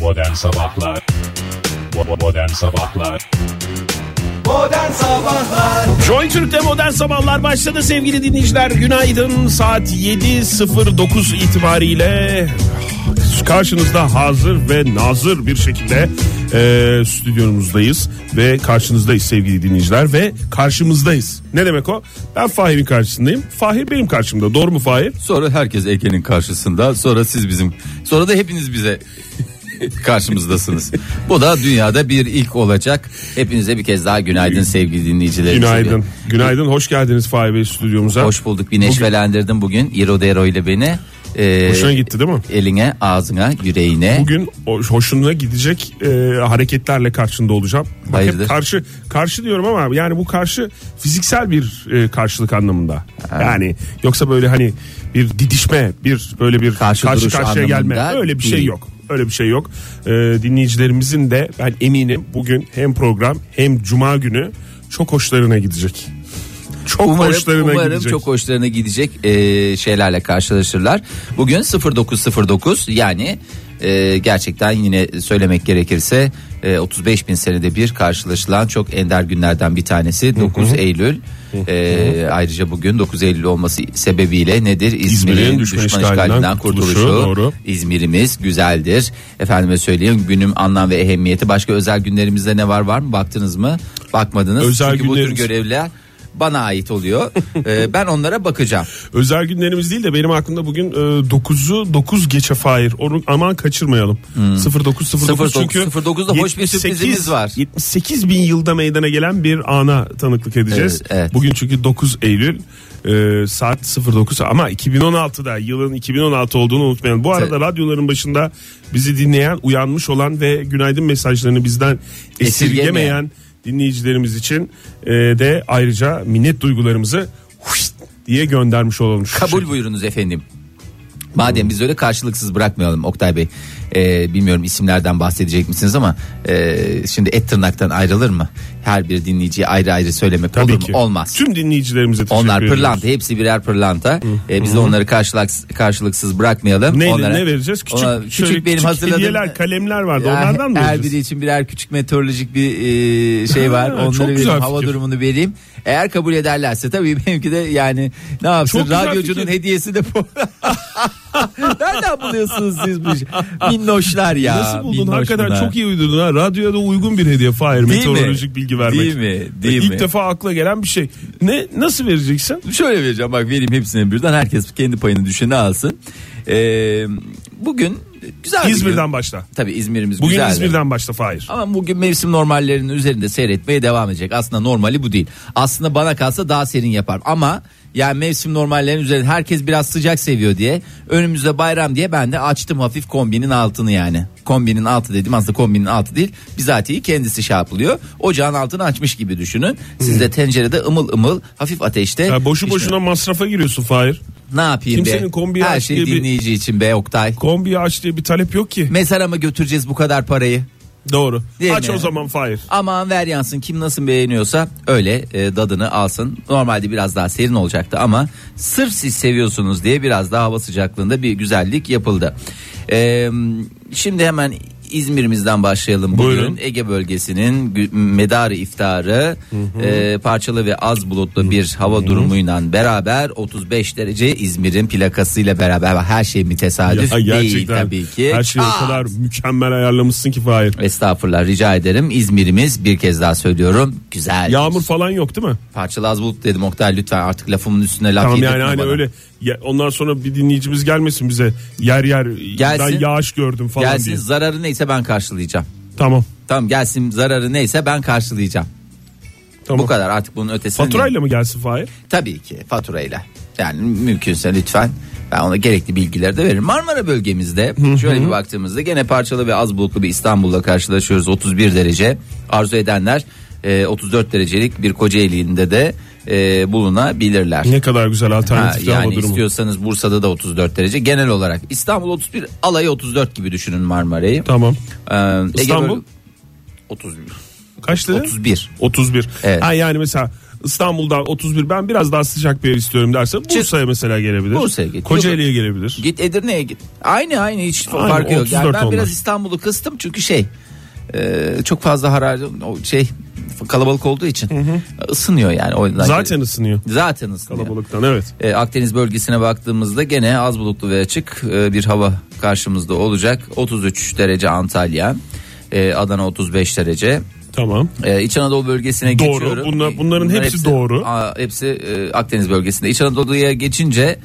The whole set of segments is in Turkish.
Modern Sabahlar Bo- Modern Sabahlar Modern Sabahlar Joy Türk'te modern sabahlar başladı sevgili dinleyiciler. Günaydın saat 7.09 itibariyle karşınızda hazır ve nazır bir şekilde e, stüdyomuzdayız ve karşınızdayız sevgili dinleyiciler ve karşımızdayız. Ne demek o? Ben Fahir'in karşısındayım. Fahir benim karşımda. Doğru mu Fahir? Sonra herkes Ege'nin karşısında. Sonra siz bizim. Sonra da hepiniz bize karşımızdasınız. Bu da dünyada bir ilk olacak. Hepinize bir kez daha günaydın sevgili dinleyicilerimiz. Günaydın. Günaydın. Hoş geldiniz Fahir Bey stüdyomuza. Hoş bulduk. Bir neşvelendirdin bugün. İrodero ile beni. Ee, Hoşuna gitti değil mi? Eline, ağzına, yüreğine. Bugün o- hoşuna gidecek e, hareketlerle karşında olacağım. Bak hep Hayırdır? karşı karşı diyorum ama yani bu karşı fiziksel bir e, karşılık anlamında. Yani yoksa böyle hani bir didişme, bir böyle bir Karşı karşı, karşı duruş karşıya gelme anlamında öyle bir şey değil. yok. Öyle bir şey yok. E, dinleyicilerimizin de ben eminim bugün hem program hem cuma günü çok hoşlarına gidecek. Çok Umarım, hoşlarına umarım gidecek. çok hoşlarına gidecek e, şeylerle karşılaşırlar. Bugün 0909 yani e, gerçekten yine söylemek gerekirse e, 35 bin senede bir karşılaşılan çok ender günlerden bir tanesi 9 Eylül. E, ayrıca bugün 9 Eylül olması sebebiyle nedir? İzmir'in, düşman, işgalinden, kurtuluşu. doğru. İzmir'imiz güzeldir. Efendime söyleyeyim günüm anlam ve ehemmiyeti. Başka özel günlerimizde ne var var mı? Baktınız mı? Bakmadınız. Özel Çünkü bu tür günlerimiz- görevler bana ait oluyor. Ee, ben onlara bakacağım. Özel günlerimiz değil de benim aklımda bugün e, 9'u 9 geçe fair. Onu aman kaçırmayalım. Hmm. 09 09 09, çünkü 09'da hoş bir 78 sürprizimiz var. 78 bin yılda meydana gelen bir ana tanıklık edeceğiz. Evet, evet. Bugün çünkü 9 Eylül e, saat 09 ama 2016'da yılın 2016 olduğunu unutmayın. Bu arada Evet. radyoların başında bizi dinleyen, uyanmış olan ve günaydın mesajlarını bizden Esirgemeyen. esirgemeyen dinleyicilerimiz için e, de ayrıca minnet duygularımızı huşt diye göndermiş olalım. Şu şey. Kabul buyurunuz efendim. Madem biz öyle karşılıksız bırakmayalım Oktay Bey. Ee, bilmiyorum isimlerden bahsedecek misiniz ama e, şimdi et tırnaktan ayrılır mı? Her bir dinleyiciye ayrı ayrı söylemek Tabii olur ki. mu? Olmaz. Tüm dinleyicilerimize teşekkür Onlar ediyoruz. pırlanta hepsi birer pırlanta. Ee, biz de onları karşılaks- karşılıksız bırakmayalım. Ne, Onlara- ne vereceğiz? Küçük, Ona- şöyle küçük benim hazırladığım hediyeler, kalemler vardı. Ya, Onlardan mı Her vereceğiz? biri için birer küçük meteorolojik bir e, şey var. Ha, Onları çok vereyim, güzel hava fikir. durumunu vereyim. Eğer kabul ederlerse tabii benimki de yani ne yapsın Çok güzel radyocunun fikir. hediyesi de bu. Nereden buluyorsunuz siz bu işi? Minnoşlar ya. Nasıl buldun? minnoş Hakikaten bunlar. çok iyi uydurdun ha. Radyoya da uygun bir hediye Fahir. Değil mi? Meteorolojik bilgi vermek. Değil mi? Değil İlk mi? defa akla gelen bir şey. Ne Nasıl vereceksin? Şöyle vereceğim bak vereyim hepsine birden herkes kendi payını düşeni alsın. Ee, bugün güzel bir gün. İzmir'den başla. Tabii İzmir'imiz Bugün güzel. İzmir'den başla Fahir. Ama bugün mevsim normallerinin üzerinde seyretmeye devam edecek. Aslında normali bu değil. Aslında bana kalsa daha serin yapar. Ama yani mevsim normallerinin üzerinde herkes biraz sıcak seviyor diye. Önümüzde bayram diye ben de açtım hafif kombinin altını yani. Kombinin altı dedim aslında kombinin altı değil. Bizatihi kendisi şey yapılıyor. Ocağın altını açmış gibi düşünün. Siz de tencerede ımıl ımıl hafif ateşte. Ya boşu pişmiş. boşuna masrafa giriyorsun Fahir. Ne yapayım be? Kimsenin kombiyi Her aç şey diye bir- dinleyici için be Oktay. Kombiyi aç diye bir talep yok ki. Mezara mı götüreceğiz bu kadar parayı? Doğru. Değil aç mi? o zaman Fahir. Aman ver yansın kim nasıl beğeniyorsa öyle e, dadını alsın. Normalde biraz daha serin olacaktı ama sırf siz seviyorsunuz diye biraz daha hava sıcaklığında bir güzellik yapıldı. E, şimdi hemen İzmir'imizden başlayalım bugün. Buyurun. Ege bölgesinin gü- medarı iftarı e, parçalı ve az bulutlu bir hava durumuyla beraber 35 derece İzmir'in plakasıyla beraber her şey mi tesadüf Ya değil gerçekten tabii ki. her şeyi Aa, o kadar mükemmel ayarlamışsın ki Fahir. Estağfurullah rica ederim. İzmir'imiz bir kez daha söylüyorum. Güzel. Yağmur falan yok değil mi? Parçalı az bulut dedim Oktay lütfen artık lafımın üstüne laf Tamam yedirtme yani hani bana. öyle ya- ondan sonra bir dinleyicimiz gelmesin bize yer yer Gelsin. ben yağış gördüm falan Gelsin diye. zararı neyse ben karşılayacağım. Tamam. Tamam gelsin zararı neyse ben karşılayacağım. Tamam. Bu kadar artık bunun ötesine. Faturayla mı gelsin Fahir? Tabii ki faturayla. Yani mümkünse lütfen ben ona gerekli bilgileri de veririm. Marmara bölgemizde şöyle bir baktığımızda gene parçalı ve az bulutlu bir İstanbul'la karşılaşıyoruz. 31 derece arzu edenler e, 34 derecelik bir Kocaeli'nde de e, bulunabilirler. Ne kadar güzel Ha, alternatif hava yani durumu. istiyorsanız Bursa'da da 34 derece genel olarak İstanbul 31 alayı 34 gibi düşünün Marmara'yı. Tamam. Ee, Ege İstanbul? Ee? bölge- 31. Kaç dedi? 31. 31. Evet. Ha yani mesela İstanbul'dan 31 ben biraz daha sıcak bir yer istiyorum dersen Bursa'ya mesela gelebilir. Bursa'ya git. Kocaeli'ye gelebilir. Git Edirne'ye git. Aynı aynı hiç Aynı, farkı yok. Yani 34 ben biraz onlar. İstanbul'u kıstım çünkü şey e, çok fazla hararet o şey kalabalık olduğu için ısınıyor yani o yüzden. Zaten ısınıyor zaten ısınıyor. kalabalıktan evet. E, Akdeniz bölgesine baktığımızda gene az bulutlu ve açık e, bir hava karşımızda olacak. 33 derece Antalya, e, Adana 35 derece. Tamam. E, İç Anadolu bölgesine Doğru. geçiyorum. E, Bunlar- bunların hepsi doğru. a, hepsi e, Akdeniz bölgesinde. İç Anadolu'ya geçince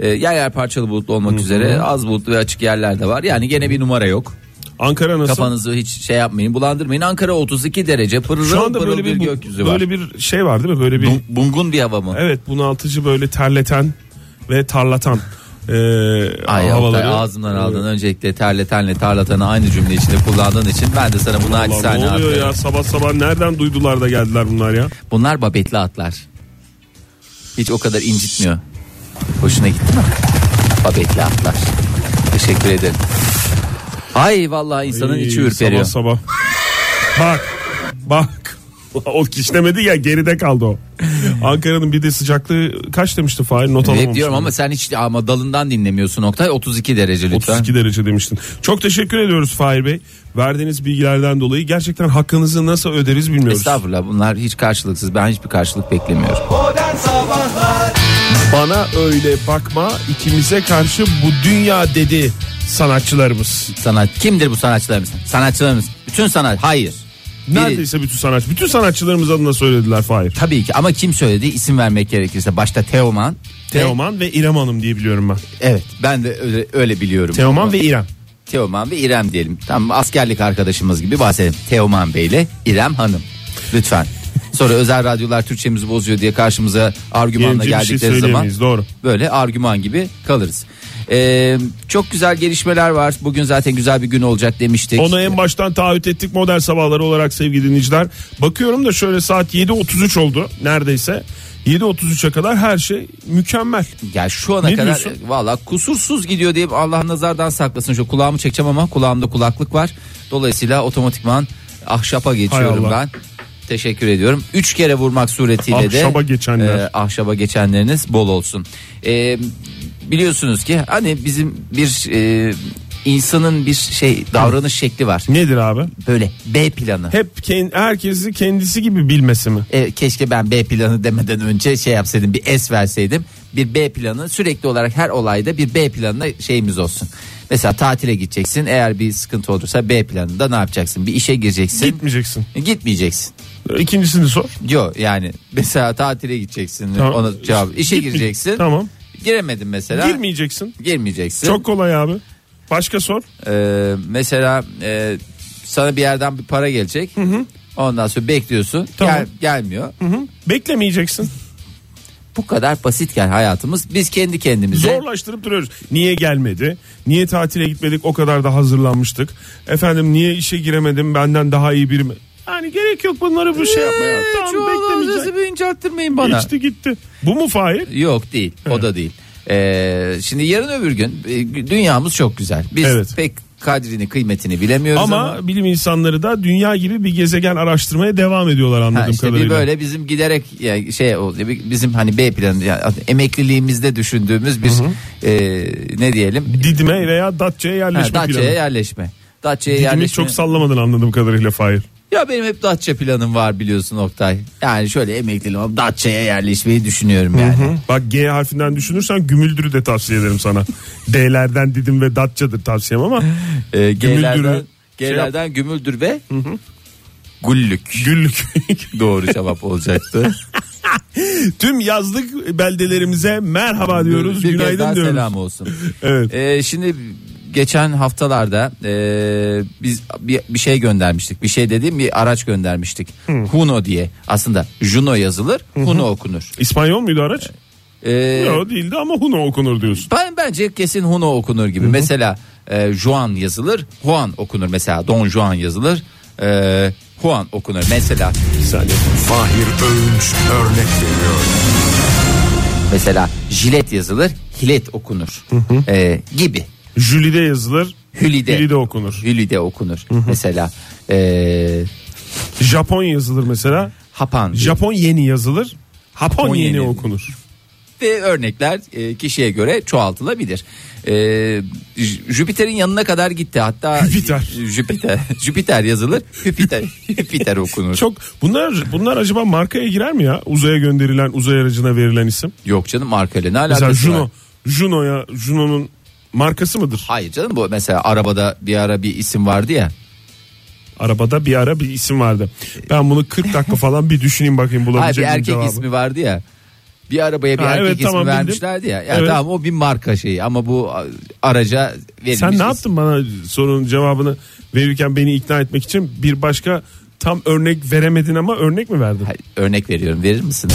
e, yer yer parçalı bulutlu olmak üzere az bulutlu ve açık yerler de var. Yani gene bir numara yok. Ankara nasıl? Kafanızı hiç şey yapmayın, bulandırmayın. Ankara 32 derece. Pırıl Şu anda pırıl böyle bir, bir, bu- gökyüzü var. böyle bir şey var değil mi? Böyle bir Bu- Bungun bir hava mı? evet bunaltıcı böyle terleten ve tarlatan e, Ay Oktay, havaları. ağzımdan aldın. Öncelikle terletenle tarlatanı aynı cümle içinde kullandığın için ben de sana bunu Ulan acizane ne oluyor ya atıyorum. sabah sabah nereden duydular da geldiler bunlar ya? Bunlar babetli atlar. Hiç o kadar incitmiyor. Hoşuna gitti mi? Babetli atlar. Teşekkür ederim. Ay vallahi insanın Ay, içi ürperiyor. Sabah sabah. bak bak. O kişnemedi ya geride kaldı o. Ankara'nın bir de sıcaklığı kaç demişti Fahir not Hep alamamıştım. diyorum ama sen hiç ama dalından dinlemiyorsun Oktay. 32 derece lütfen. 32 derece demiştin. Çok teşekkür ediyoruz Fahir Bey. Verdiğiniz bilgilerden dolayı gerçekten hakkınızı nasıl öderiz bilmiyoruz. Estağfurullah bunlar hiç karşılıksız. Ben hiçbir karşılık beklemiyorum. Modern Sabahlar Bana öyle bakma ikimize karşı bu dünya dedi sanatçılarımız. Sanat kimdir bu sanatçılarımız? Sanatçılarımız bütün sanat hayır. Biri- Neredeyse bütün sanatçı. Bütün sanatçılarımız adına söylediler Fahir. Tabii ki ama kim söyledi isim vermek gerekirse başta Teoman. Teoman ve İrem Hanım diye biliyorum ben. Ve- evet ben de öyle, öyle biliyorum. Teoman ve İrem. Teoman ve İrem diyelim. Tam askerlik arkadaşımız gibi bahsedelim. Teoman Bey ile İrem Hanım. Lütfen. Sonra özel radyolar Türkçemizi bozuyor diye karşımıza argümanla Yenici bir şey geldikleri zaman söyleyemeyiz, doğru. böyle argüman gibi kalırız. Ee, çok güzel gelişmeler var. Bugün zaten güzel bir gün olacak demiştik. Onu en baştan taahhüt ettik modern sabahları olarak sevgili dinleyiciler. Bakıyorum da şöyle saat 7.33 oldu neredeyse. 7.33'e kadar her şey mükemmel. Ya şu ana Ne kadar diyorsun? e, valla kusursuz gidiyor diye Allah nazardan saklasın. Şu kulağımı çekeceğim ama kulağımda kulaklık var. Dolayısıyla otomatikman ahşapa geçiyorum Hay Allah. ben. Teşekkür ediyorum. Üç kere vurmak suretiyle de Ahşaba geçenler. e, ahşaba geçenleriniz bol olsun. E, biliyorsunuz ki hani bizim bir e, insanın bir şey davranış şekli var. Nedir abi? Böyle B planı. Hep kend- herkesi kendisi gibi bilmesi mi? E, keşke ben B planı demeden önce şey yapsaydım bir S verseydim. Bir B planı sürekli olarak her olayda bir B planına şeyimiz olsun. Mesela tatile gideceksin eğer bir sıkıntı olursa B planında ne yapacaksın? Bir işe gireceksin. Gitmeyeceksin. Gitmeyeceksin. İkincisini sor. Yok yani mesela tatile gideceksin Tamam. ona cevap işe Gitmeyeceksin. gireceksin. Tamam. Giremedin mesela. Girmeyeceksin. Girmeyeceksin. Çok kolay abi. Başka sor. Ee, mesela e, sana bir yerden bir para gelecek. Ondan sonra bekliyorsun. Tamam. Gel, gelmiyor. Beklemeyeceksin. Bu kadar basitken hayatımız biz kendi kendimize Zorlaştırıp duruyoruz. Niye gelmedi? Niye tatile gitmedik? O kadar da hazırlanmıştık. Efendim niye işe giremedim? Benden daha iyi biri mi? Yani gerek yok bunları bu şey yapmaya. Tamam beklemeyecek. bir incelttirmeyin bana. İçti gitti. Bu mu Fahir? Yok değil o da değil. Ee, şimdi yarın öbür gün e, dünyamız çok güzel. Biz Evet. pek kadrini kıymetini bilemiyoruz ama, Ama bilim insanları da dünya gibi bir gezegen araştırmaya devam ediyorlar anladığım Ha, işte kadarıyla. bir böyle bizim giderek yani şey oluyor bir- bizim hani B planı yani emekliliğimizde düşündüğümüz bir e, ne diyelim Didime veya Datça'ya ha, yerleşme Datça'ya planı. yerleşme. Datça'ya Didimi yerleşme. çok sallamadın anladığım kadarıyla Fahir. Ya benim hep Datça planım var biliyorsun Oktay. Yani şöyle emekliliğim ama Datça'ya yerleşmeyi düşünüyorum yani. Bak G harfinden düşünürsen Gümüldür'ü de tavsiye ederim sana. D'lerden Didim ve Datça'dır tavsiyem ama E, G'lerden, Ee, Gümüldür'ü şey G'lerden gümüldür ve güllük. güllük. Doğru cevap olacaktı. Tüm yazlık beldelerimize merhaba diyoruz. Bir kez daha günaydın diyoruz. selam olsun. Evet. E, şimdi geçen haftalarda e, biz bir, bir şey göndermiştik. Bir şey dediğim bir araç göndermiştik. Huno diye. Aslında Juno yazılır, Huno okunur. İspanyol muydu araç? E, Yok değildi ama Huno okunur diyorsun. Ben bence kesin Huno okunur gibi. Mesela e, Juan yazılır, Juan okunur. Mesela Don Juan yazılır, e, Juan okunur. Mesela Bir saniye. Fahir Öğünç örnek veriyor. mesela jilet yazılır, hilet okunur. E, gibi. Jülide yazılır. Hülide. Hülide okunur. Hülide okunur. Mesela e, Japon yazılır mesela. Hapan. Japon yeni yazılır. Hapon Hapon yeni yeni. okunur. ve örnekler e, kişiye göre çoğaltılabilir. E, J- Jüpiter'in yanına kadar gitti hatta Jüpiter. J- Jüpiter Jüpiter yazılır. Jüpiter Jüpiter okunur. Çok bunlar bunlar acaba markaya girer mi ya? Uzaya gönderilen uzay aracına verilen isim. Yok canım markayla ne alakası Mesela var? Juno. Juno'ya Juno'nun markası mıdır? Hayır canım bu mesela arabada bir ara bir isim vardı ya. Arabada bir ara bir isim vardı. Ben bunu 40 dakika falan bir düşüneyim bakayım Hayır bir bulabilecek miyim erkek cevabı. ismi vardı ya. Bir arabaya bir Ha, erkek evet, ismi tamam, bildim. vermişlerdi ya. Ya Evet. tamam o bir marka şeyi ama bu a- araca verilmiş. Sen ne isim. yaptın bana sorunun cevabını verirken beni ikna etmek için bir başka tam örnek veremedin ama örnek mi verdin? Hayır, örnek veriyorum verir misin?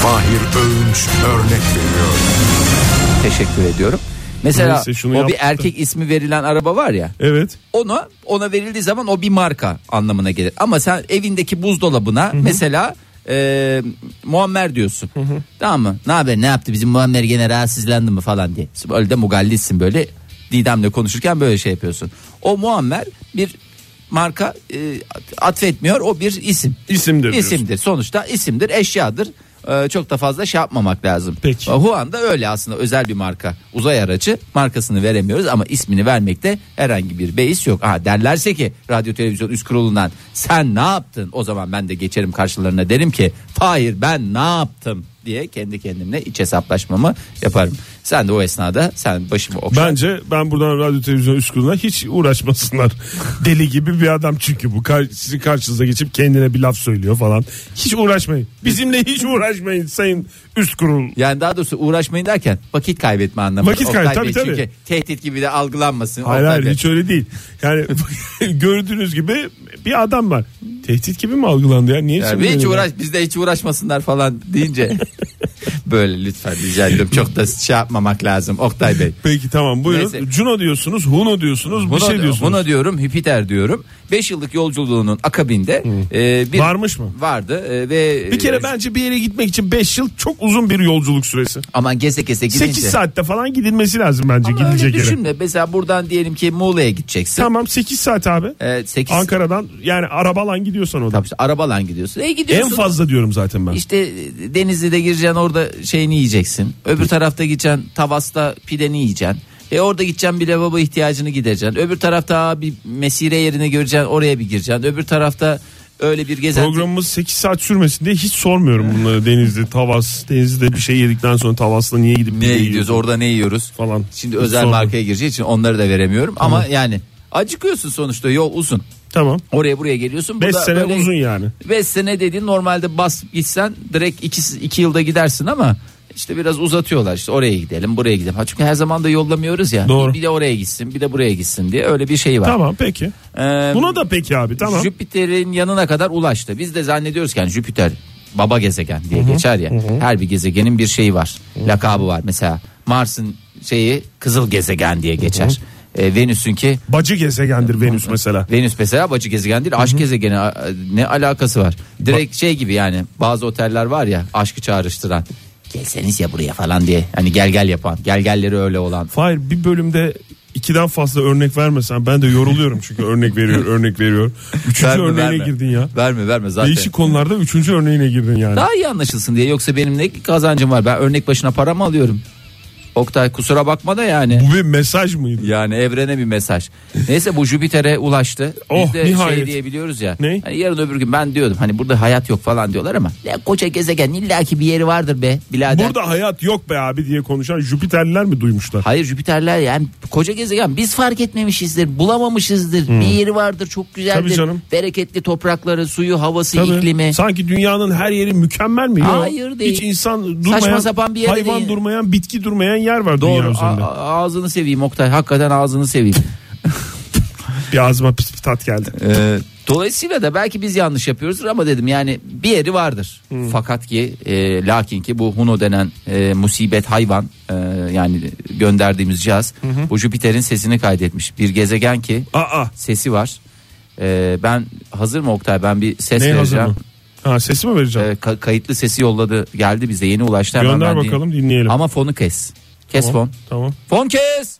Fahir Öğünç örnek veriyor. Teşekkür ediyorum. Mesela Neyse, şunu o bir yaptı. erkek ismi verilen araba var ya. Evet. Ona ona verildiği zaman o bir marka anlamına gelir. Ama sen evindeki buzdolabına mesela e, Muammer diyorsun. Tamam mı? Ne haber ne yaptı bizim Muammer gene rahatsızlandı mı falan diye. Öyle de mugallissin böyle Didem'le konuşurken böyle şey yapıyorsun. O Muammer bir marka e, atfetmiyor o bir isim. İsimdir diyorsun. İsimdir sonuçta isimdir eşyadır. E, çok da fazla şey yapmamak lazım. Peki. E, Huan da öyle aslında özel bir marka. Uzay aracı markasını veremiyoruz ama ismini vermekte herhangi bir beis yok. Ha derlerse ki radyo televizyon üst kurulundan sen ne yaptın? O zaman ben de geçerim karşılarına derim ki hayır ben ne yaptım diye kendi kendimle iç hesaplaşmamı yaparım. Sen de o esnada sen başımı okşa. Bence ben buradan radyo televizyon üst kuruluna hiç uğraşmasınlar. Deli gibi bir adam çünkü bu. Kar- Sizin karşınıza geçip kendine bir laf söylüyor falan. Hiç uğraşmayın. Bizimle hiç uğraşmayın sayın üst kurul. Yani daha doğrusu uğraşmayın derken vakit kaybetme anlamında. Vakit Oktay kaybı, Bey tabii, Çünkü tabii. tehdit gibi de algılanmasın. Hayır Oktay hayır Bey. hiç öyle değil. Yani gördüğünüz gibi bir adam var. Tehdit gibi mi algılandı ya? Niye Ya şimdi bir hiç böyle- uğraş bizde hiç uğraşmasınlar falan deyince böyle lütfen rica ediyorum çok da şey yapmamak lazım Oktay Bey. Peki tamam buyurun. Neyse. Juno diyorsunuz, Huno diyorsunuz, bir şey diyorsunuz. buna diyorum Hüpiter diyorum. 5 yıllık yolculuğunun akabinde e, bir Varmış mı? Vardı e, ve Bir kere bence bir yere gitmek için 5 yıl çok uzun bir yolculuk süresi. aman geze geze gidince. 8 saatte falan gidilmesi lazım bence Ama öyle gidilecek yere. düşünme. Mesela buradan diyelim ki Muğla'ya gideceksin. Tamam 8 saat abi. E, 8 Ankara'dan yani arabalan gidiyorsan o da. tabii işte arabayla gidiyorsun. E En gidiyorsun. fazla diyorum zaten ben. İşte e, Denizli'de gireceksin orada şeyini yiyeceksin. Öbür tarafta gideceksin Tavas'ta pideni yiyeceksin. E orada gideceksin bir lavabo ihtiyacını gidereceksin. Öbür tarafta aa, bir mesire yerini göreceksin oraya bir gireceksin. Öbür tarafta öyle bir gezenti. Programımız 8 saat sürmesin diye hiç sormuyorum bunları Denizli, Tavas. Denizli'de bir şey yedikten sonra Tavas'ta niye gidip Neye niye gidiyoruz orada ne yiyoruz Falan. Şimdi Hiç özel sorma. markaya gireceği için onları da veremiyorum. Ama yani acıkıyorsun sonuçta yol uzun. Tamam. Oraya buraya geliyorsun. Bu 5 da sene böyle- uzun yani. 5 sene dediğin normalde bas gitsen direkt 2 yılda gidersin ama işte biraz uzatıyorlar işte oraya gidelim buraya gidelim. Ha çünkü her zaman da yollamıyoruz ya. Doğru. Bir de oraya gitsin bir de buraya gitsin diye öyle bir şey var. Tamam peki. Ee, Buna da peki abi tamam. Jüpiter'in yanına kadar ulaştı. Biz de zannediyoruz ki yani Jüpiter baba gezegen diye geçer ya. Her bir gezegenin bir şeyi var. Lakabı var. Mesela Mars'ın şeyi kızıl gezegen diye geçer. Ee, Venüs'ün ki Bacı gezegendir Venüs mesela. Venüs mesela bacı gezegen değil aşk gezegeni A- a- ne alakası var? Direkt şey gibi yani bazı oteller var ya aşkı çağrıştıran. Gelseniz ya buraya falan diye. Hani gel gel yapan. Gel gelleri öyle olan. Fahir bir bölümde ikiden fazla örnek vermesen ben de yoruluyorum çünkü örnek veriyor örnek veriyor. Üçüncü Verme, örneğine verme. girdin ya. Verme verme zaten. Değişik konularda üçüncü örneğine girdin yani. Daha iyi anlaşılsın diye yoksa benim ne kazancım var? Ben örnek başına para mı alıyorum? Oktay kusura bakma da yani. Bu bir mesaj mıydı? Yani evrene bir mesaj. Neyse bu Jüpiter'e ulaştı. Biz Oh, de şey nihayet. diyebiliyoruz ya. Ne? Hani yarın öbür gün ben diyordum hani burada hayat yok falan diyorlar ama. Ya koca gezegen illaki bir yeri vardır be birader. Burada hayat yok be abi diye konuşan Jüpiterliler mi duymuşlar? Hayır Jüpiterler yani koca gezegen biz fark etmemişizdir bulamamışızdır bir yeri vardır çok güzeldir Hmm. Tabii canım. bereketli toprakları suyu havası Tabii. iklimi Sanki dünyanın her yeri mükemmel mi? Yok. Hayır, değil. Hiç insan durmayan, Saçma sapan bir yere hayvan değil. durmayan, bitki durmayan yer var dünya doğru üzerinde. a- a- ağzını seveyim Oktay hakikaten ağzını seveyim Bir ağzıma pis pis tat geldi. Ee, dolayısıyla da belki biz yanlış yapıyoruzdur ama dedim yani bir yeri vardır fakat ki e, lakin ki bu Huno denen e, musibet hayvan e, yani gönderdiğimiz cihaz bu Jüpiter'in sesini kaydetmiş bir gezegen ki Aa, sesi var Ee, ben hazır mı Oktay ben bir ses ne hazır vereceğim mı? Ha sesi mi vereceğim? Ee, ka- kayıtlı sesi yolladı geldi bize yeni ulaştı Ee, hemen Gönder ben diyeyim. bakalım dinleyelim. ama fonu kes kes tamam, fon tamam. fon kes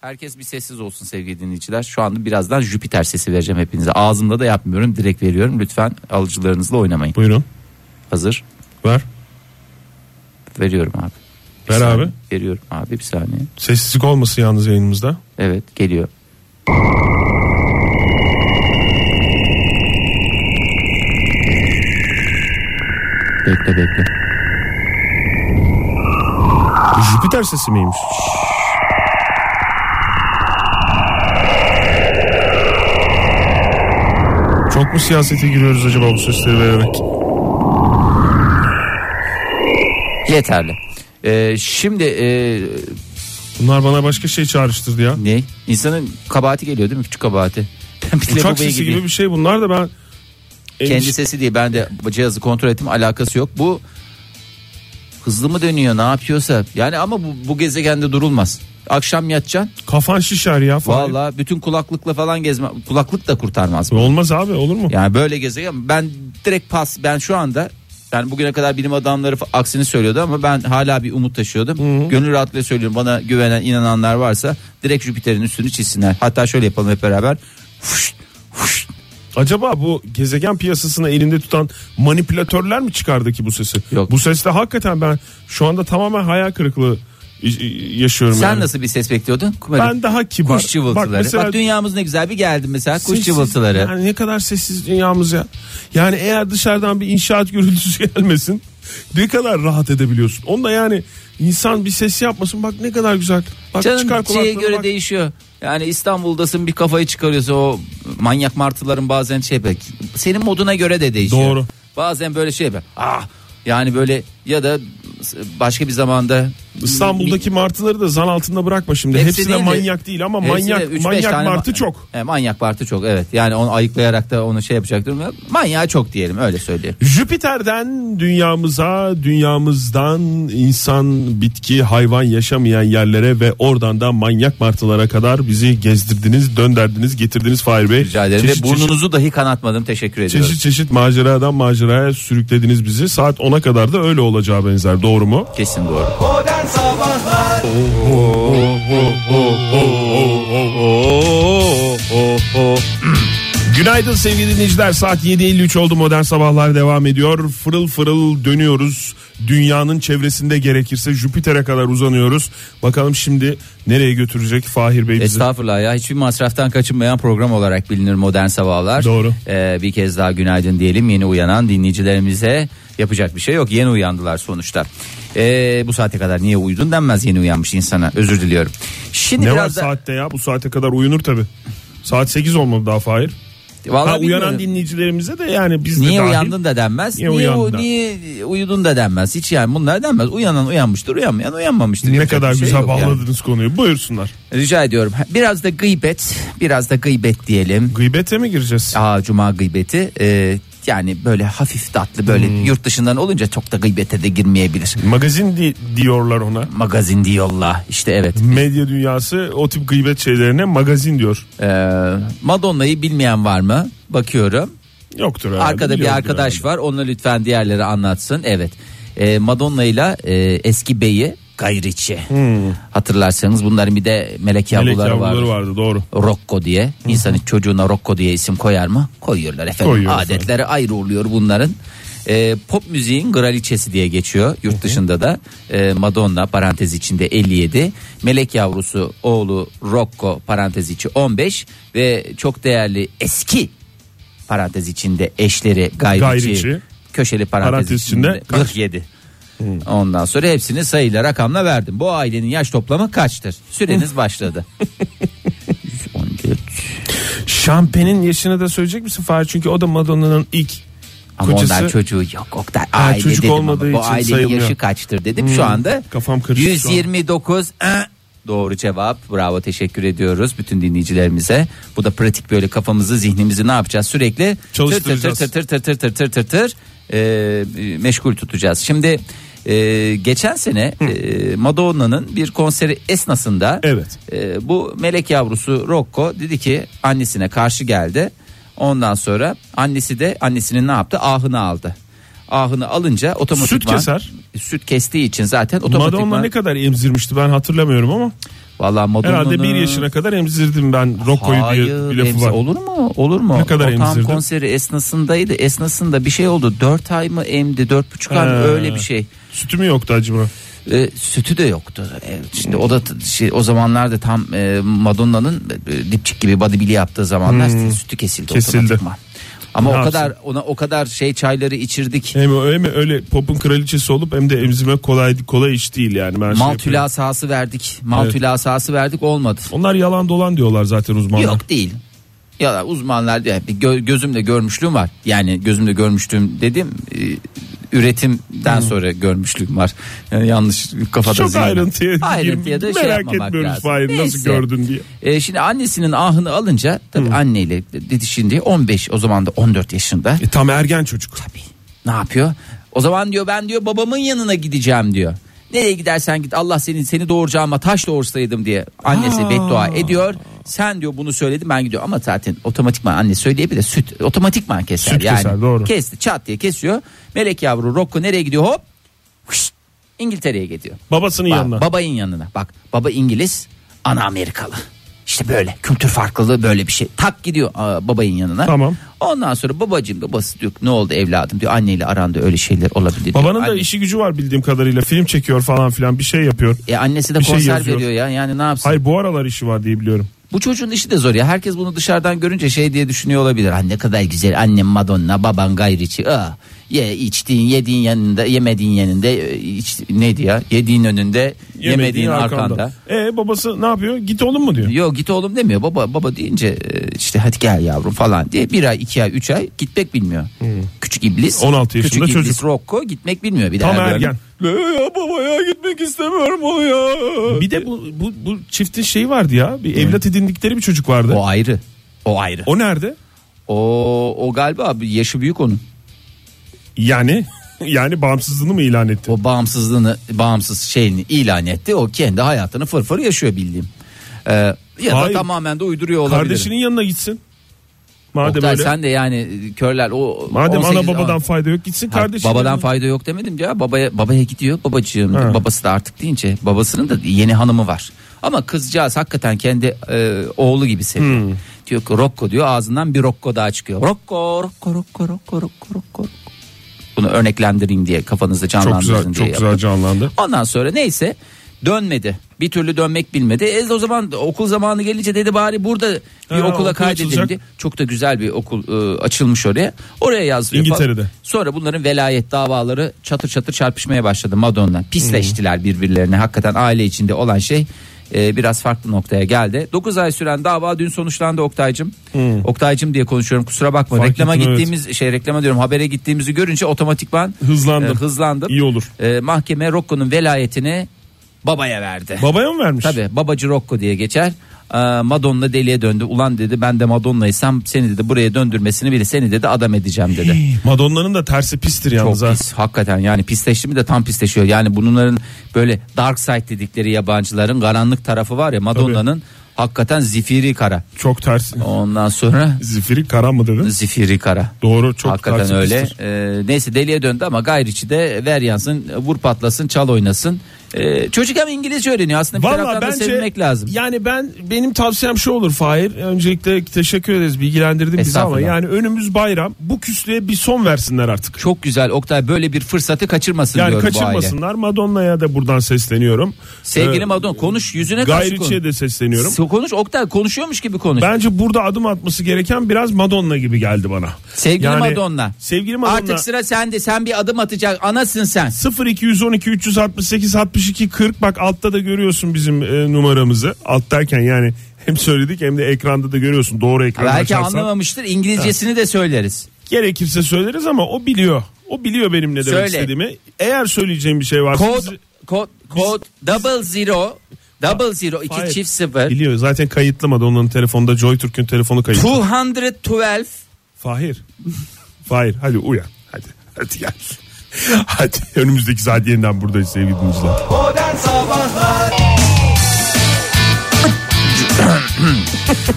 herkes bir sessiz olsun sevgili dinleyiciler şu anda birazdan Jüpiter sesi vereceğim hepinize ağzımda da yapmıyorum direkt veriyorum lütfen alıcılarınızla oynamayın Buyurun. Hazır. Ver. Veriyorum abi. Bir Ver saniye. abi. Veriyorum abi bir saniye. Sessizlik olmasın yalnız yayınımızda. Evet geliyor. Bekle bekle. Jüpiter sesi miymiş? Çok mu siyasete giriyoruz acaba bu sesleri vererek? Yeterli. Ee, şimdi e, Bunlar bana başka şey çağrıştırdı ya. ne? İnsanın kabahati geliyor değil mi? Küçük kabahati. Ben bile Uçak babaya sesi gideyim. gibi bir şey bunlar da ben... Kendi sesi değil ben de cihazı kontrol ettim alakası yok. Bu hızlı mı dönüyor ne yapıyorsa. Yani ama bu, bu gezegende durulmaz. Akşam yatacaksın. Kafan şişer ya falan. Valla bütün kulaklıkla falan gezme. Kulaklık da kurtarmaz. Olmaz abi olur mu? Yani böyle gezegen ben direkt pas ben şu anda yani bugüne kadar bilim adamları fa- aksini söylüyordu ama ben hala bir umut taşıyordum. Gönül rahatlığıyla söylüyorum bana güvenen inananlar varsa direkt Jüpiter'in üstünü çizsinler. Hatta şöyle yapalım hep beraber. Fuşt, fuşt. Acaba bu gezegen piyasasını elinde tutan manipülatörler mi çıkardı ki bu sesi? Yok. Bu sesle hakikaten ben şu anda tamamen hayal kırıklığı i- i- yaşıyorum. Sen yani. nasıl bir ses bekliyordun? Kumarım. Ben daha kibar. Kuş cıvıltıları. Bak, dünyamız ne güzel bir geldi mesela kuş sessiz- cıvıltıları. Yani ne kadar sessiz dünyamız ya. Yani eğer dışarıdan bir inşaat gürültüsü gelmesin ne kadar rahat edebiliyorsun. Onda yani insan bir ses yapmasın bak ne kadar güzel. Bak çıkar Canım şeye kulaklarına göre bak. değişiyor. Yani İstanbul'dasın bir kafayı çıkarıyorsa o manyak martıların bazen şey yapıyor. Senin moduna göre de değişiyor. Doğru. Bazen böyle şey yapıyor. Ah yani böyle ya da başka bir zamanda İstanbul'daki martıları da zan altında bırakma şimdi. Hepsi, de değil de- manyak değil ama hepsi de manyak üç beş manyak tane ma- martı çok. E, manyak martı çok evet. Yani onu ayıklayarak da onu şey yapacak durumda. Manyağı çok diyelim öyle söyleyeyim. Jüpiter'den dünyamıza, dünyamızdan insan, bitki, hayvan yaşamayan yerlere ve oradan da manyak martılara kadar bizi gezdirdiniz, dönderdiniz, getirdiniz Fahir Bey. Rica ederim. Çeşit Ve burnunuzu dahi kanatmadım. Teşekkür ediyorum. çeşit, çeşit çeşit maceradan maceraya sürüklediniz bizi. Saat 10'a kadar da öyle olacağı benzer. Doğru mu? Kesin doğru. Modern Sabahlar Günaydın sevgili dinleyiciler saat 7.53 oldu modern sabahlar devam ediyor fırıl fırıl dönüyoruz dünyanın çevresinde gerekirse Jüpiter'e kadar uzanıyoruz bakalım şimdi nereye götürecek Fahir Bey bizi Estağfurullah ya hiçbir masraftan kaçınmayan program olarak bilinir modern sabahlar. Doğru. Ee, bir kez daha günaydın diyelim yeni uyanan dinleyicilerimize yapacak bir şey yok yeni uyandılar sonuçta. Ee, bu saate kadar niye uyudun denmez yeni uyanmış insana özür diliyorum. Şimdi ne var biraz da saatte ya bu saate kadar uyunur tabi saat 8 olmadı daha Fahir Vallahi ha, uyanan bilmiyorum. dinleyicilerimize de yani biz de Niye dahil. uyandın da denmez. Niye Niye, uyandın u- da? niye uyudun da denmez. Hiç yani bunlar denmez. Uyanan uyanmıştır, uyanmayan uyanmamıştır. ne Yapacak kadar bir şey güzel yok yani. bağladınız konuyu buyursunlar Rica ediyorum. Biraz da gıybet, biraz da gıybet diyelim. gıybete mi gireceğiz Aa cuma gıybeti e, yani böyle hafif tatlı böyle Hmm. yurt dışından olunca çok da gıybete de girmeyebilir. magazin di- diyorlar ona Magazin diyorlar işte evet. medya dünyası o tip gıybet şeylerine magazin diyor E, Madonna'yı bilmeyen var mı? Bakıyorum. yoktur herhalde Arkada bir biliyordur arkadaş herhalde. var. Onu lütfen diğerleri anlatsın. Evet. E, Madonna ile eski beyi Gayriçi. Hatırlarsanız bunların bir de melek Hmm. Melek yavruları vardı. yavruları vardı doğru. Rocco diye. İnsanın çocuğuna Rocco diye isim koyar mı? Koyuyorlar efendim. Koyuyor Adetleri ayrı oluyor bunların. Ee, pop müziğin kraliçesi diye geçiyor yurt dışında da Ee, Madonna parantez içinde 57 Melek yavrusu oğlu Rocco parantez içi 15 ve çok değerli eski parantez içinde eşleri gayriçi, Gayriçi. köşeli parantez, Parantez içinde içinde kaç? Hmm. 47 ondan sonra hepsini sayıyla rakamla verdim bu ailenin yaş toplamı kaçtır Hmm. süreniz başladı 14. Şampen'in yaşını da söyleyecek misin Fahir? Çünkü o da Madonna'nın ilk Ama kocası. ondan çocuğu yok Oktay. Aile çocuk dedim olmadığı ama bu için ailenin sayılmıyor. Hmm. yaşı kaçtır dedim şu anda. kafam karıştı şu an. 129 eh, doğru cevap bravo teşekkür ediyoruz bütün dinleyicilerimize. Bu da pratik böyle kafamızı zihnimizi ne yapacağız sürekli tır tır tır Çalıştıracağız. tır tır tır tır tır tır tır tır e, meşgul tutacağız. Şimdi e, geçen sene e, Madonna'nın bir konseri esnasında Evet. e, bu melek yavrusu Rocco dedi ki annesine karşı geldi. Ondan sonra annesi de annesinin ne yaptı? Ahını aldı. Ahını alınca otomatikman Süt keser. Süt kestiği için zaten otomatikman Madonna ne kadar emzirmişti ben hatırlamıyorum ama Vallahi Madonna'nın... Herhalde bir yaşına kadar emzirdim ben Rocco'yu diye bir Hayır, lafı emzi- var. olur mu? Olur mu? Ne kadar o tam emzirdi? konseri esnasındaydı. Esnasında bir şey oldu. 4 ay mı emdi? 4,5 ay mı? He. Öyle bir şey. Sütü mü yoktu acaba? E, sütü de yoktu. E, işte o da t- şey, o zamanlarda tam e, Madonna'nın e, dipçik gibi bodybuild'i yaptığı zamanlar sütü kesildi, Hmm. Kesildi. otomatikman. Ama Ne o yapsın? Şey kadar ona o kadar şey çayları içirdik. Hem öyle, öyle popun kraliçesi olup hem de emzirmek kolay kolay iş değil yani. Ben şey Mal yapıyorum. tülasası verdik. Mal Evet. tülasası verdik olmadı. Onlar yalan dolan diyorlar zaten uzmanlar. Yok değil. Ya da uzmanlar diyor bir gö- gözümle görmüşlüğüm var. Yani gözümle görmüşlüğüm dedim e, üretimden sonra görmüşlüğüm var. Yani yanlış kafada Çok zihin- ayrıntıya, ayrıntıya da şey merak yapmamak etmiyoruz lazım. Fahir, nasıl Neyse. gördün diye. E, şimdi annesinin ahını alınca tabii anneyle didişindiği 15 o zaman da 14 yaşında. E, tam ergen çocuk. Ne yapıyor? O zaman diyor ben diyor babamın yanına gideceğim diyor. Nereye gidersen git Allah senin seni doğuracağıma taş doğursaydım diye annesi beddua ediyor. Sen diyor bunu söyledin ben gidiyor ama zaten otomatikman anne söyleyebilir süt otomatikman keser Süt yani. keser, doğru. Kesti çat diye kesiyor. Melek yavru Rocco nereye gidiyor hop huşt, İngiltere'ye gidiyor. Babasının Bak, yanına. Babayın yanına. Bak baba İngiliz, ana Amerikalı. İşte böyle kültür farklılığı böyle bir şey. Tak gidiyor aa, babayın yanına. Tamam. Ondan sonra babacığım babası diyor ne oldu evladım diyor anneyle aranda öyle şeyler olabilir. diyor. Babanın da Anne- işi gücü var bildiğim kadarıyla. Film çekiyor falan filan bir şey yapıyor. E annesi de bir şey konser yazıyor. veriyor ya yani ne yapsın? Hayır bu aralar işi var diye biliyorum. Bu çocuğun işi de zor ya. Herkes bunu dışarıdan görünce şey diye düşünüyor olabilir. Anne kadar güzel annem Madonna baban gayriçi. Aa, ye içtiğin yediğin yanında yemediğin yanında e, iç, neydi ya yediğin önünde yemediğin, arkanda. E babası ne yapıyor? Git oğlum mu diyor. Yok git oğlum demiyor baba baba deyince e, işte hadi gel yavrum falan diye bir ay iki ay üç ay gitmek bilmiyor. Küçük iblis. 16 Hmm. yaşında küçük çocuk. iblis Rocco gitmek bilmiyor bir Tam daha. ergen. Ya baba ya gitmek istemiyorum onu ya. Bir de bu, bu, bu çiftin şeyi vardı ya. Bir evlat edindikleri bir çocuk vardı. O ayrı. O ayrı. O nerede? O, o galiba abi yaşı büyük onun. Yani yani bağımsızlığını mı ilan etti? O bağımsızlığını bağımsız şeyini ilan etti. O kendi hayatını fırfır yaşıyor bildiğim. Ee, ya Hayır. da tamamen de uyduruyor olabilir. Kardeşinin yanına gitsin. Madem Oktay, öyle. sen de yani e, körler o Madem 18 ana babadan fayda yok gitsin Ha, kardeşinin. babadan yanına. fayda yok demedim ya babaya babaya gidiyor babacığım Ha. babası da artık deyince babasının da yeni hanımı var ama kızcağız hakikaten kendi e, oğlu gibi seviyor Hmm. diyor ki Rocco diyor ağzından bir Rocco daha çıkıyor Rocco Rocco Rocco Rocco Rocco Rocco bunu örneklendireyim diye kafanızda Çok canlandırsın güzel, diye çok güzel yaptım. canlandı. Ondan sonra neyse dönmedi. Bir türlü dönmek bilmedi. E o zaman okul zamanı gelince dedi bari burada bir Ha, okula okul kaydedelim açılacak. diye. Çok da güzel bir okul e, açılmış oraya. Oraya yazıyor. falan. İngiltere'de. Sonra bunların velayet davaları çatır çatır çarpışmaya başladı Madonna. Pisleştiler birbirlerine. Hakikaten aile içinde olan şey e, biraz farklı noktaya geldi. 9 ay süren dava dün sonuçlandı Oktay'cım. Oktay'cım diye konuşuyorum kusura bakma. Fark reklama ettim, evet. gittiğimiz şey reklama diyorum habere gittiğimizi görünce otomatikman Hızlandım. e, hızlandım. İyi olur. E, mahkeme Rocco'nun velayetini babaya verdi. Babaya mı vermiş? Tabii babacı Rocco diye geçer. Ee, Madonna deliye döndü. Ulan dedi ben de Madonna'ysam seni dedi buraya döndürmesini bile seni dedi adam edeceğim dedi. Madonna'nın da tersi pistir Çok yalnız. ha. pis hakikaten yani pisleşti mi de tam pisleşiyor. Yani bunların böyle dark side dedikleri yabancıların karanlık tarafı var ya Madonna'nın hakikaten zifiri kara. Çok ters. Ondan sonra Zifiri kara mı dedin? zifiri kara. Doğru çok Hakikaten tersi öyle. pistir. Ee, neyse deliye döndü ama gayriçi de ver yansın, vur patlasın, çal oynasın. Ee, çocuk hem İngilizce öğreniyor aslında bir Valla taraftan da bence sevinmek lazım. yani ben benim tavsiyem şu olur Fahir. Öncelikle teşekkür ederiz bilgilendirdin bizi ama Estağfurullah. yani önümüz bayram. Bu küslüğe bir son versinler artık. Çok güzel Oktay böyle bir fırsatı kaçırmasın Yani diyorum bu aile. kaçırmasınlar. Madonna'ya da buradan sesleniyorum. Sevgili Ee, Madon konuş yüzüne karşı Gayriçi'ye konuş. de sesleniyorum. So- Konuş Oktay konuşuyormuş gibi konuş. Bence burada adım atması gereken biraz Madonna gibi geldi bana. Sevgili Yani Madonna. Sevgili Madonna. Artık sıra sende. Sen bir adım atacak. Anasın sen. 0212 368 62 40 bak altta da görüyorsun bizim e, numaramızı. Alt derken yani hem söyledik hem de ekranda da görüyorsun doğru ekranda Belki açarsan. anlamamıştır. İngilizcesini de söyleriz. Gerekirse söyleriz ama o biliyor. O biliyor benim ne demek Söyle. istediğimi. Eğer söyleyeceğim bir şey varsa Kod bizi- kod kod double zero double zero iki Hayır. çift sıfır biliyor. Zaten kayıtlamadı onun telefonda Joy Türk'ün telefonu kayıtlı. 212 Fahir. Fahir hadi uyan. Hadi hadi gel. hadi önümüzdeki saat yeniden buradayız sevgili dinleyiciler. Modern Sabahlar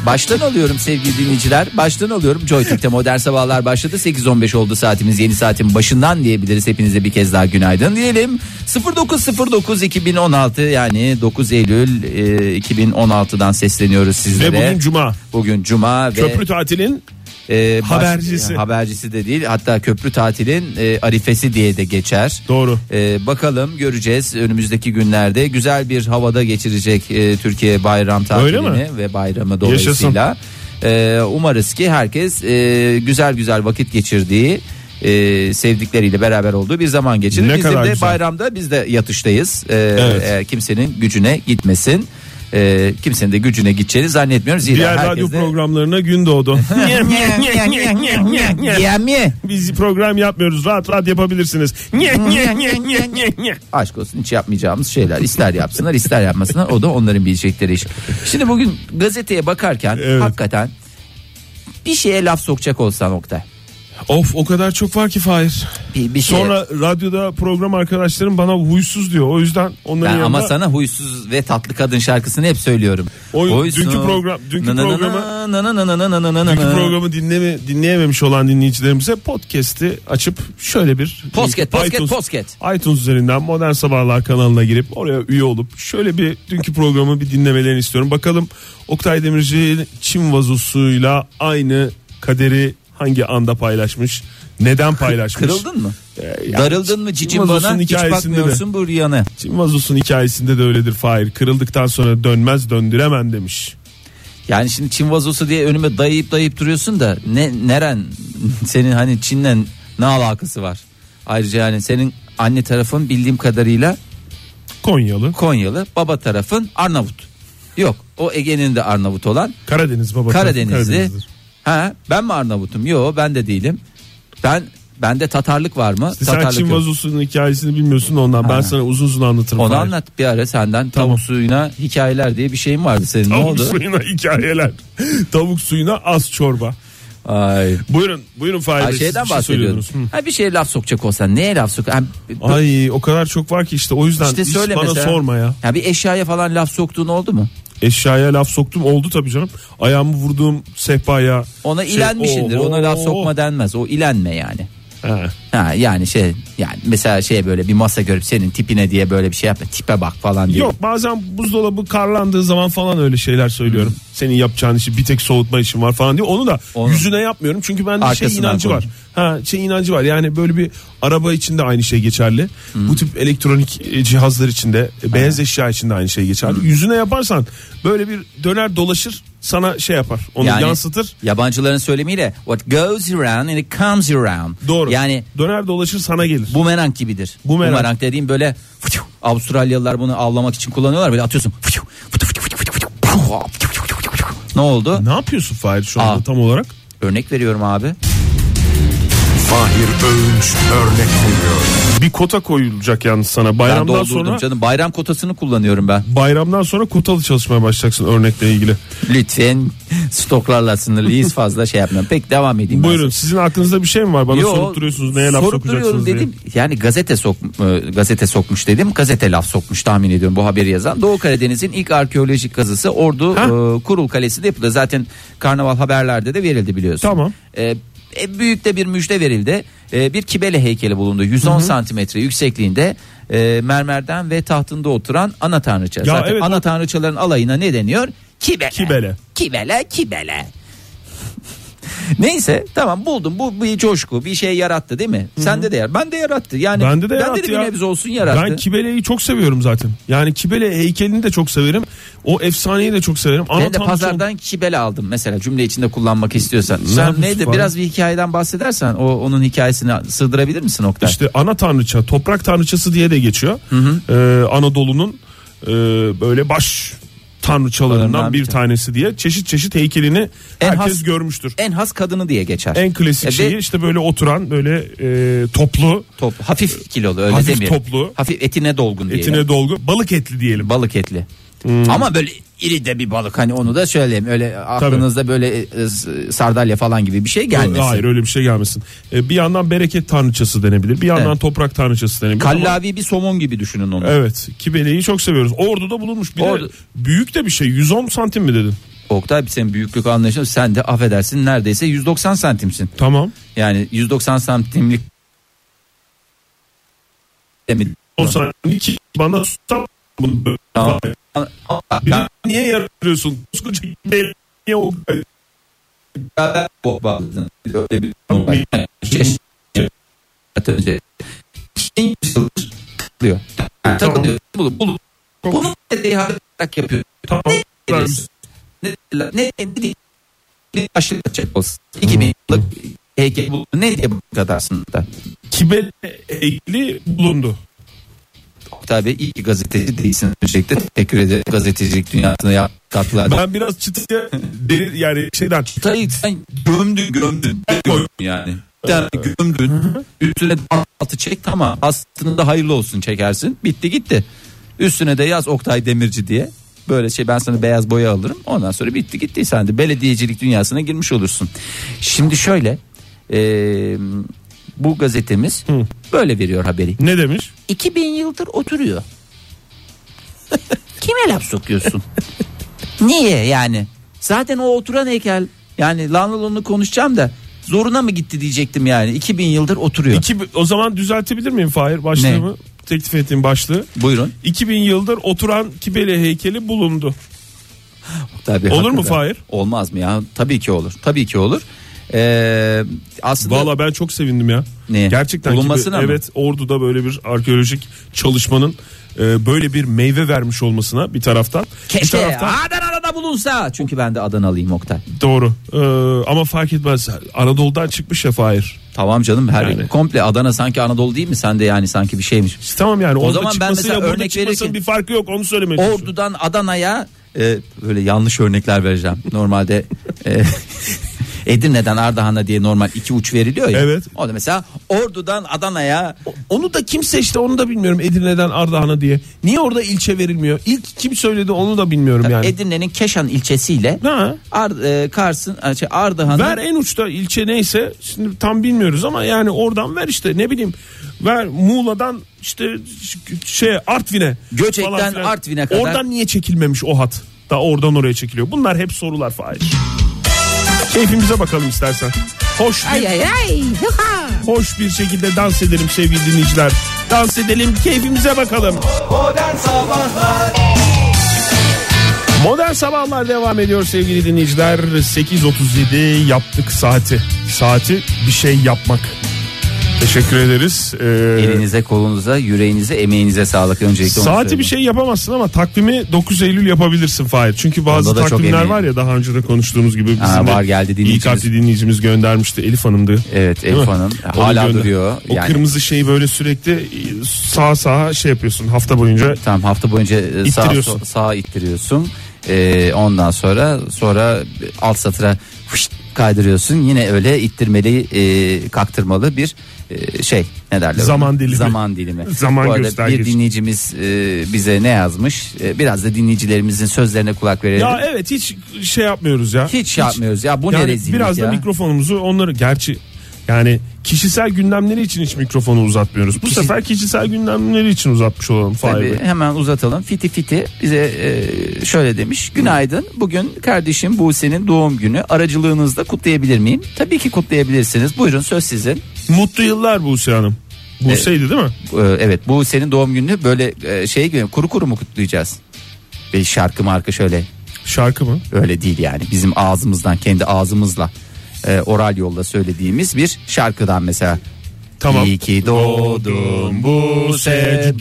Baştan alıyorum sevgili dinleyiciler. Baştan alıyorum. JoyTürk'te modern sabahlar başladı. 8.15 oldu saatimiz. Yeni saatin başından diyebiliriz. Hepinize bir kez daha günaydın diyelim. 0909 2016 yani 9 Eylül e, 2016'dan sesleniyoruz Ve sizlere. bugün cuma. Bugün cuma ve Köprü tatilin e, baş- habercisi. habercisi de değil hatta köprü tatilin e, arifesi diye de geçer. Doğru. E, bakalım göreceğiz önümüzdeki günlerde güzel bir havada geçirecek e, Türkiye bayram Öyle tatilini ve bayramı Yaşasın. dolayısıyla. E, umarız ki herkes e, güzel güzel vakit geçirdiği e, sevdikleriyle beraber olduğu bir zaman geçirir. Ne Bizim kadar de güzel. bayramda biz de yatıştayız. E, Evet. e, kimsenin gücüne gitmesin. E, kimsenin de gücüne gideceğini zannetmiyorum. Zira diğer herkes radyo de- programlarına gün doğdu. Yemi. Biz program yapmıyoruz. Rahat rahat yapabilirsiniz. Aşk olsun hiç yapmayacağımız şeyler. İster yapsınlar ister yapmasınlar o da onların bilecekleri iş. Şimdi bugün gazeteye bakarken Evet. hakikaten bir şeye laf sokacak olsan Oktay. of o kadar çok var ki Fahir. Bir, bir şeye- Sonra radyoda program arkadaşlarım bana huysuz diyor. O yüzden Ben onların yanında ama sana huysuz ve tatlı kadın şarkısını hep söylüyorum. O- Huysuz. dünkü program- dünkü Na na na programı- na na na na na na na na na. Dünkü programı dinleme, dinleyememiş olan dinleyicilerimize podcast'i açıp şöyle bir Posket, posket, iTunes, posket. iTunes üzerinden Modern Sabahlar kanalına girip oraya üye olup şöyle bir dünkü programı bir dinlemelerini istiyorum. Bakalım Oktay Demirci Çin vazosuyla aynı kaderi hangi anda paylaşmış? Neden paylaşmış? E, Kırıldın mı? yani Darıldın mı cicim Yılmaz'ın bana? Hiç hikayesinde de. bakmıyorsun bu rüyana. Çin vazosunun hikayesinde de öyledir Fahir. Kırıldıktan sonra dönmez döndüremem demiş. Yani şimdi Çin vazosu diye önüme dayayıp dayayıp duruyorsun da ne neren senin hani Çin'le ne alakası var? Ayrıca yani senin anne tarafın bildiğim kadarıyla Konyalı. Konyalı, baba tarafın Arnavut. Yok, o Ege'nin de Arnavut olan Karadeniz baba. Karadenizli. Karadenizlidir. Ha, ben mi Arnavutum? Yok, ben de değilim. Ben bende Tatarlık var mı? İşte sen Tatarlık Çin yok. vazosunun hikayesini bilmiyorsun da ondan. Ben Ha. sana uzun uzun anlatırım. Onu Fahir. anlat bir ara senden tavuk suyuna hikayeler diye bir şeyin vardı senin. Ne Tavuk oldu? suyuna hikayeler. Tavuk suyuna az çorba. Ay. Buyurun, buyurun Fahir. Ha, Bey, siz bir şeyden şey bahsediyordum. söylüyordunuz. Hı. Ha, bir şeye laf sokacak olsan neye laf sok? Ha, Ay o kadar çok var ki işte o yüzden İşte hiç söyle bana mesela. sorma ya. Ya bir eşyaya falan laf soktuğun oldu mu? Eşyaya laf soktum oldu tabii canım. Ayağımı vurduğum sehpaya. Ona Şey, oh. ilenmişindir. oo, Ona laf oo. sokma denmez. O ilenme yani. He. Ha yani şey yani mesela şey böyle bir masa görüp senin tipine diye böyle bir şey yapma. Tipe bak falan diye. Yok bazen buzdolabı karlandığı zaman falan öyle şeyler söylüyorum. Senin yapacağın işi bir tek soğutma işin var falan diyor. Onu da Onu- yüzüne yapmıyorum çünkü bende şey Arkasından inancı konuş. var. Ha şey inancı var. Yani böyle bir araba için de aynı şey geçerli. Hmm. Bu tip elektronik e, cihazlar için de e, beyaz eşya için de aynı şey geçerli. Hmm. Yüzüne yaparsan böyle bir döner dolaşır sana şey yapar. Onu Yani yansıtır. Yabancıların söylemiyle what goes around and it comes around. Doğru. Yani döner dolaşır sana gelir. bumerang gibidir. Bumerang. dediğim böyle fıçu, Avustralyalılar bunu avlamak için kullanıyorlar böyle atıyorsun. Fıçu, fıçu, fıçu, fıçu, fıçu, puh, fıçu, fıçu, fıçu, fıçu. Ne oldu? Ne yapıyorsun Fahir şu anda Aa. tam olarak? Örnek veriyorum abi. Fahir Öğünç örnek veriyor. Bir kota koyulacak yalnız sana. Ben Bayramdan doldurdum sonra canım. Bayram kotasını kullanıyorum ben. bayramdan sonra kotalı çalışmaya başlayacaksın örnekle ilgili. Lütfen stoklarla sınırlıyız fazla şey yapmıyorum. Pek devam edeyim. ben. Buyurun sizin aklınızda bir şey mi var? Bana Yo, sorup duruyorsunuz neye laf sorup sokacaksınız duruyorum diye. dedim. Yani gazete sok e, gazete sokmuş dedim. Gazete laf sokmuş tahmin ediyorum bu haberi yazan. Doğu Karadeniz'in ilk arkeolojik kazısı Ordu Ha? e, Kurul Kalesi'de yapıldı. Zaten karnaval haberlerde de verildi biliyorsun. Tamam. E, e, büyük de bir müjde verildi. E, bir kibele heykeli bulundu. 110 santimetre yüksekliğinde e, mermerden ve tahtında oturan ana tanrıça. Zaten evet, ana tanrıçaların alayına ne deniyor? Kibele. Kibele. Kibele, kibele. Neyse tamam buldum. Bu bir coşku, bir şey yarattı değil mi? Sende de yarattı. Bende yarattı. Yani Bende de yarattı bir ya. nebze olsun yarattı. Ben Kibele'yi çok seviyorum zaten. Yani Kibele heykelini de çok severim. O efsaneyi de çok severim. Ana ben de Tanrıçanın- pazardan kibele aldım mesela cümle içinde kullanmak istiyorsan. Sen yapıyorsun neydi falan? biraz bir hikayeden bahsedersen o onun hikayesini sığdırabilir misin Oktay? işte ana tanrıça, toprak tanrıçası diye de geçiyor. Ee, Anadolu'nun e, böyle baş tanrıçalarından Tanrılarından bir bir tanesi diye çeşit çeşit heykelini En herkes has- görmüştür. En has kadını diye geçer. En klasik E, bir şeyi işte böyle oturan böyle e, toplu top, hafif kilolu öyle Hafif demeyelim. toplu. Hafif etine dolgun diye. etine dolgu balık etli diyelim. Balık etli. Hmm. Ama böyle iri de bir balık hani onu da söyleyeyim. Öyle aklınızda böyle e, s- sardalya falan gibi bir şey gelmesin. Hayır öyle bir şey gelmesin. Ee, bir yandan bereket tanrıçası denebilir. Bir yandan Evet. toprak tanrıçası denebilir. ama- Kallavi bir somon gibi düşünün onu. Evet. Kibeleyi çok seviyoruz. Ordu'da bulunmuş. Bir Ordu- de büyük de bir şey. 110 santim mi dedin? Oktay senin büyüklük anlayışın sen de affedersin neredeyse 190 santimsin. Tamam. Yani 190 santimlik Demin- 10 santim. İki bana tam bunu Tamam. Ben... Niye yarıyorsun? Koskoca kibele niye o beraber kopardın. Öyle bir konu var. Yani şey- Zaten önce- Şey- Takılıyor. Takılıyor. Bulup bulup. Bunu dediği halde tak yapıyor. kadar? Ne ne ne ne- ne aşırı kaçak olsun. 2000 yıllık heykel bu ne diye bu kadar aslında. Kibele ekli bulundu. Oktay Bey iyi ki gazeteci değilsin. Öncelikle teşekkür ederim gazetecilik dünyasına yaptığı katkılar. Ben biraz çıtıya derin yani şeyden Oktay'ı sen gömdün gömdün. gömdün yani. Bir tane gömdün. Üstüne altı çek ama aslında da hayırlı olsun çekersin. Bitti gitti. Üstüne de yaz Oktay Demirci diye. Böyle şey ben sana beyaz boya alırım. Ondan sonra bitti gitti. Sen de belediyecilik dünyasına girmiş olursun. Şimdi şöyle. eee, bu gazetemiz böyle veriyor haberi. ne demiş? 2000 yıldır oturuyor. Kime laf sokuyorsun? Niye yani? Zaten o oturan heykel yani Lanlolon'u konuşacağım da zoruna mı gitti diyecektim yani. 2000 yıldır oturuyor. İki, o zaman düzeltebilir miyim Fahir başlığımı? Teklif ettiğim başlığı. Buyurun. 2000 yıldır oturan Kibele heykeli bulundu. Tabii, Olur mu hakikaten. Fahir? Olmaz mı ya? Tabii ki olur. Tabii ki olur. Ee, aslında Valla ben çok sevindim ya. Neye? Gerçekten. Bulunmasına Kibe- mı? Evet Ordu'da böyle bir arkeolojik çalışmanın e, böyle bir meyve vermiş olmasına bir taraftan. Bir keşke taraftan Adana'da bulunsa. Çünkü ben de Adanalıyım Oktay. doğru. E, ama fark etmez. Anadolu'dan çıkmış ya Fahir. Tamam canım her Yani. komple Adana sanki Anadolu değil mi? Sen de yani sanki bir şeymiş. Tamam yani orada zaman ben çıkmasıyla mesela burada örnek çıkmasının verirken- bir farkı yok onu söylemeye çalışıyorum. Ordu'dan Adana'ya e, böyle yanlış örnekler vereceğim. Normalde e, Edirne'den Ardahan'a diye normal iki uç veriliyor ya. Evet. O da mesela Ordu'dan Adana'ya Onu da kimse işte onu da bilmiyorum Edirne'den Ardahan'a diye. Niye orada ilçe verilmiyor? İlk kim söyledi onu da bilmiyorum yani. Edirne'nin Keşan ilçesiyle Ha. Ar, e, Kars'ın e, şey, Ardahan'ın Ver en uçta ilçe neyse şimdi tam bilmiyoruz ama yani oradan ver işte ne bileyim ver Muğla'dan işte ş- şey Artvin'e. Göcek'ten falan filan. Artvin'e kadar. Oradan niye çekilmemiş o hat? Da oradan oraya çekiliyor. Bunlar hep sorular Fahir. Keyfimize bakalım istersen. Hoş bir, hoş bir şekilde dans edelim sevgili dinleyiciler. Dans edelim keyfimize bakalım. Modern Sabahlar Modern Sabahlar devam ediyor sevgili dinleyiciler. 8.37 yaptık saati. Saati bir şey yapmak. Teşekkür ederiz. Ee, elinize kolunuza yüreğinize emeğinize sağlık öncelikle onu saati söyleyeyim. bir şey yapamazsın ama takvimi 9 Eylül yapabilirsin Fahir. Çünkü bazı Onda da çok takvimler eminim. var ya daha önce de konuştuğumuz gibi. Bizim Ha, de var geldi İyi dinleyicimiz. kalpli dinleyicimiz göndermişti Elif Hanım'dı. Evet Değil Elif mi? Hanım Onu hala gönder- duruyor. O yani, kırmızı şeyi böyle sürekli sağa sağa şey yapıyorsun hafta boyunca. Tamam hafta boyunca e, sağa, İttiriyorsun. so- sağa ittiriyorsun. Ee, ondan sonra sonra alt satıra fışt kaydırıyorsun. Yine öyle ittirmeli, e, kaktırmalı bir e, şey ne derler? ona? Zaman dilimi. Zaman dilimi. Zaman Bu arada bir göstergesi. dinleyicimiz e, bize ne yazmış? E, biraz da dinleyicilerimizin sözlerine kulak verelim. Ya evet hiç şey yapmıyoruz ya. hiç, şey yapmıyoruz ya bu ne Yani rezillik biraz ya. da mikrofonumuzu onları gerçi yani kişisel gündemleri için hiç mikrofonu uzatmıyoruz. Bu Kişi- sefer kişisel gündemleri için uzatmış olalım Fahir Bey. Tabii, hemen uzatalım. Fiti Fiti bize e, şöyle demiş. Günaydın. Bugün kardeşim Buse'nin doğum günü. Aracılığınızla kutlayabilir miyim? Tabii ki kutlayabilirsiniz. Buyurun söz sizin. Mutlu yıllar Buse Hanım. Buse'ydi değil mi? Ee, evet Buse'nin doğum gününü böyle e, şey gibi kuru kuru mu kutlayacağız? Bir şarkı marka şöyle Şarkı mı? öyle değil yani. Bizim ağzımızdan kendi ağzımızla e, oral yolla söylediğimiz bir şarkıdan mesela. Tamam. İyi ki doğdun Buse.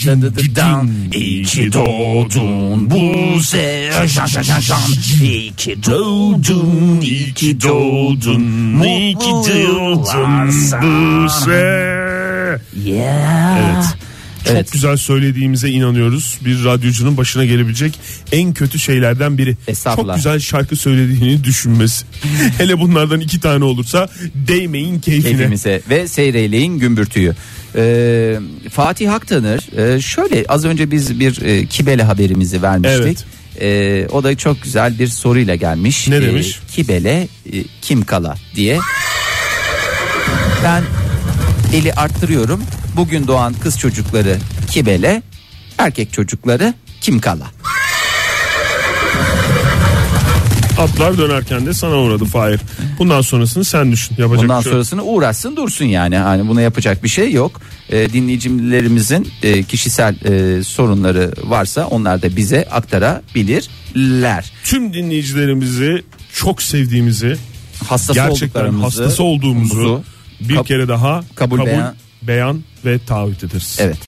İyi ki doğdun Buse. Şan şan şan şan. İyi ki doğdun. İyi ki doğdun. İyi ki doğdun Buse. Yeah. Evet. Çok Evet. güzel söylediğimize inanıyoruz. Bir radyocunun başına gelebilecek en kötü şeylerden biri. Çok Estağfurullah. güzel şarkı söylediğini düşünmesi. Hele bunlardan iki tane olursa değmeyin keyfine. keyfimize ve seyreyleyin gümbürtüyü. Ee, Fatih Haktanır e, şöyle az önce biz bir e, Kibele haberimizi vermiştik. Evet. Ee, o da çok güzel bir soruyla gelmiş. Ne Ee, demiş? kibele e, kim kala diye. Ben eli arttırıyorum. Bugün doğan kız çocukları kibele, erkek çocukları kim kala. Atlar dönerken de sana uğradı Fahir. Bundan sonrasını sen düşün. Yapacak Bundan bir şey yok. sonrasını uğraşsın dursun yani. Hani buna yapacak bir şey yok. Ee, dinleyicilerimizin e, kişisel e, sorunları varsa onlar da bize aktarabilirler. Tüm dinleyicilerimizi çok sevdiğimizi, Hastası gerçekten olduklarımızı, hastası olduğumuzu muzu, bir kab- kere daha kabul kabul, beyan- beyan ve taahhüt ederiz. Evet.